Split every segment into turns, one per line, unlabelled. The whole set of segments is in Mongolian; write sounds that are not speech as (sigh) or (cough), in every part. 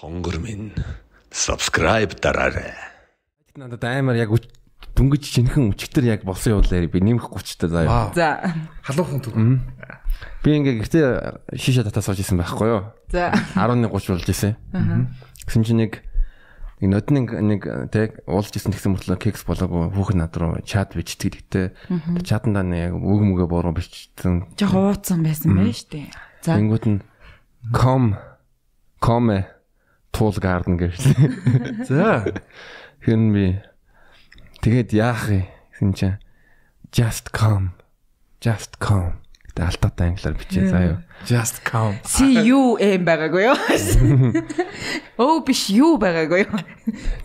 Хонгор минь subscribe дараарай.
Тэд надад амар яг үч- дүнгиж жинхэн өчтөр яг болсон явуулаарай би нэмэх 30 та заяа.
Аа.
За.
Халуухан төв.
Би ингээ гэхдээ шишээ татаас сууж исэн байхгүй юу?
За.
11:30 болж исэн. Гэсэн чинь нэг нэг нод нэг нэг тэг уулж исэн гэсэн мөртлөө кекс болоогүй хүүхэн над руу чат бичдэг гэдэг. Тэг Чатандаа нэг үг мүгэ буруу бичсэн.
Жох ууцсан байсан байж тээ. За.
Тэнгүүд нь ком коме туул гарден гэвчлээ.
За.
Хин би тэгэд яах вэ гэсэн чинь just come just come гэдэг алдаатай англиар бичээ заяа.
Just come.
See you эм (laughs) байгаагүй юу? Оо биш юу байгаагүй юу?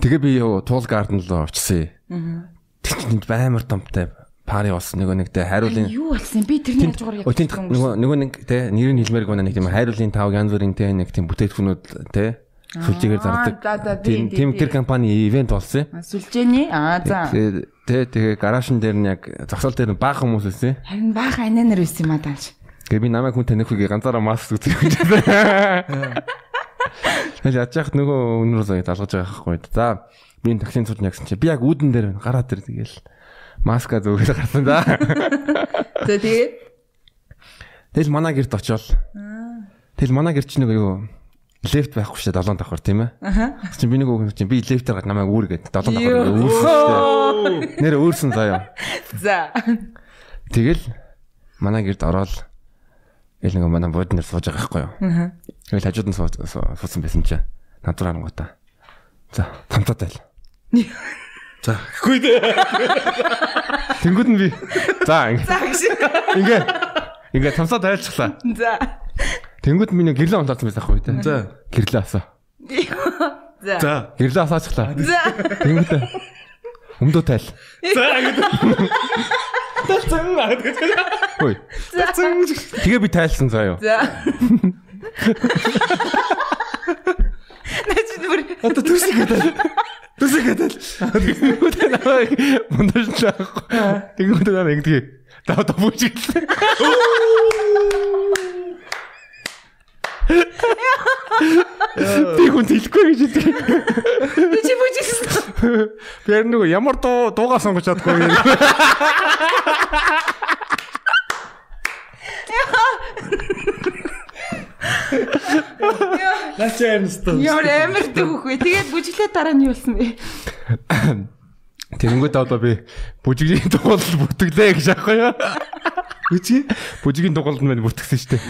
Тэгээ би юу туул гарден руу очсон юм. Тэг чинь энд амар томтай пари болсон нөгөө нэгтэй хариулын
Юу болсон би тэрний хажуугаар яг
Өтөнд нөгөө нөгөө нэг те нэрийн хэлмээр гоо нэг тийм хайруулын тав янз бүрийн те нэг тийм бүтээтгүүнүүд те сүлжээгээр зардаг.
за, за,
Тийм
тий,
тийм
тий,
тэр
тий.
компани ивент болсон юм.
сүлжээний аа за.
Тэгээ те тэгээ гаражн дээр нь яг зогсоол дээр нь баах хүмүүс байсан.
Харин баахан ананер байсан юм аа тааш.
Тэгээ би намайг хүн танихгүйгээ ганцаараа маск үзүүлж байсан.
(laughs)
Тэгэл яаж яах нөгөө өнөрөө заяа залгаж байгаа байхгүй. За би энэ таксинд сууж нэгсэн чи би яг үүдэн дээр байна. Гараад ир тэгээл маска зөөгөл гарсан да.
За тэгээд
Тэгэл манай герт очиол. Тэгэл манай герт ч нэг юу лефт байхгүй шүү дээ 7 давхар тийм ээ. Аа. Чи би нэг үг чи би лефтээр гад намайг үүргээд 7 давхар ингээ үүрсэн шүү дээ. Нэр үүрсэн заяа.
за.
Тэгэл манай герт ороод эл нэг манай бууд нэр сууж байгаа байхгүй юу. Аа. Тэгэл хажууд нь суу- суу- суусан байсан чи. Надраа ангуута. За, цамцаа тайл.
За. Хүй дээ.
Тэнгүүд нь би. За, ингээ.
За гэж.
Ингээ. Ингээ цамцаа тайлцглаа.
За.
Тэнгүүд нь миний гэрлээ унтаасан байсан байхгүй юу тийм.
За.
Гэрлээ асаа.
За.
За.
Гэрлээ асаачглаа.
За.
Тэнгүүд нь өмдөө тайл.
За. Тэлцэн аа гэдэг.
Хөөе. Тэгээ би тайлсан заа юу.
За. Начид бүр
Одоо төсөг гэдэг. Төсөг гэдэг.
Тэнгүүдээ намайг мундарч байхгүй. Тэнгүүдээ намайг ингэдэг. За одоо бүжиглээ. Би хүн хэлэхгүй гэж хэлдэг.
чи бүжигсэн.
Би яг нөгөө ямар дуу дуугаа сонгож чадахгүй юм.
Начи ярнастаа.
Ямар амар дүүх вэ? Тэгээд бүжиглээ дараа нь юу болсон бэ?
Тэнгүүдээ одоо би бүжигийн дугуул бүртгэлээ гэж аахгүй юу.
Үчи.
Бүжигийн дугуул нь мань бүртгсэн шүү дээ.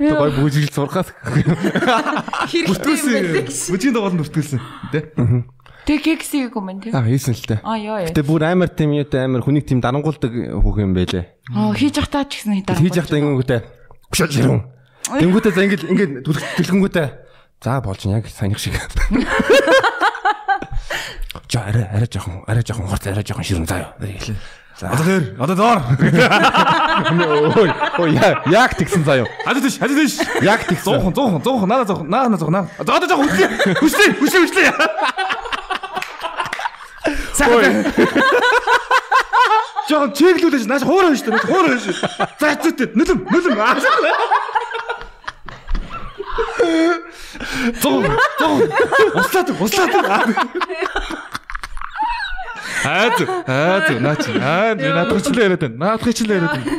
Одоо гой бүжигл сурхаас.
Хэрэгтэй юм
Бүтгүүлсэн.
байна.
Бүжгийн дугаар нь бүртгүүлсэн. Тэ.
Тэг кексиг юм байна тийм.
Аа хийсэн л дээ.
А ёо ёо.
Гэтэ бүр амар тийм юу те амар хүнийг тийм дарангуулдаг хүүх юм байлээ.
Аа хийж явахдаа ч гэсэн дараа.
Хийж явахдаа ингэнгүүтээ гүшэл юм. Тэнгүүтээ за ингэ ингэ түлхэнгүүтээ за болж нь яг санийх
(laughs)
шиг. За арай арай жоохон арай жоохон хурц арай жоохон ширэн заяа. Тэгээл. За.
Одоо дээр. Одоо доор.
Ой ой я- яг тэгсэн заяа.
Хажид тийш. Хажид тийш.
Яг тэгсэн.
100 100 100 надаа 100 надаа 100 надаа. За одоо жоохон хүслээ. Хүслээ. Хүслээ. Хүслээ. (laughs) Сайн. Жоохон чиглүүлж нааш хуур хөн шүү дээ. Хуур хөн шүү. За хэцүүтэй. Нүлэм нүлэм. Аа. 100 100 услаад услаад Хаад хаад наач хаад наадах хичлээ яриад байна. Наадах хичлээ яриад байна.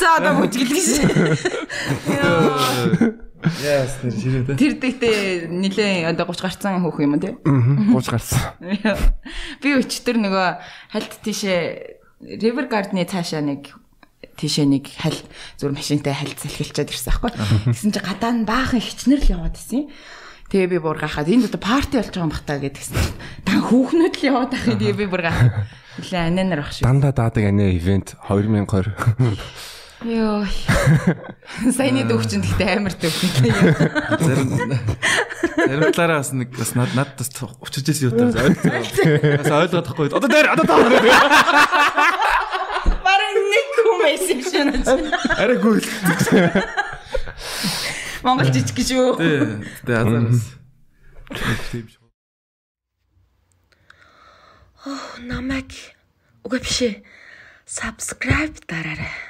За одоо бүжиглэх шээ.
Яс нэр ширээ тэ.
Тэр дэхтэй нилээн одоо 30 гарцсан хөөх юм тийм.
Гууч гарсан.
Би өчтөр нөгөө хальт тийшээ River Garden-ы цаашаа нэг тийшээ нэг хал зүр машинтай хальт салхилчаад ирсэн байхгүй. Тэгсэн чи гадаа нь баахан хичнэр л яваад байсан юм. Тэгээ би бүр гахаад энд одоо парти болж байгаа юм бах та гэдгсэн. Дан хүүхнүүд л яваад байхыг тэгээ би бүр гахаад. Нилээ ананаар багш.
Дандаа даадаг анэ ивент 2020.
Йоо. Саяны дөвчөнд гэхдээ амар дөвчөнд.
Зарим зарим талаараа бас нэг бас над над бас учирч ирсэн юм даа. Бас ойлгохгүй. Одоо дээр одоо таа.
Бараг нэг хүмүүс юм шиг.
Арай гүйл.
Монгол жижиг гэж юу?
Тэ. Тэ азараас.
намайг үгүй биш ээ. Subscribe дараарай.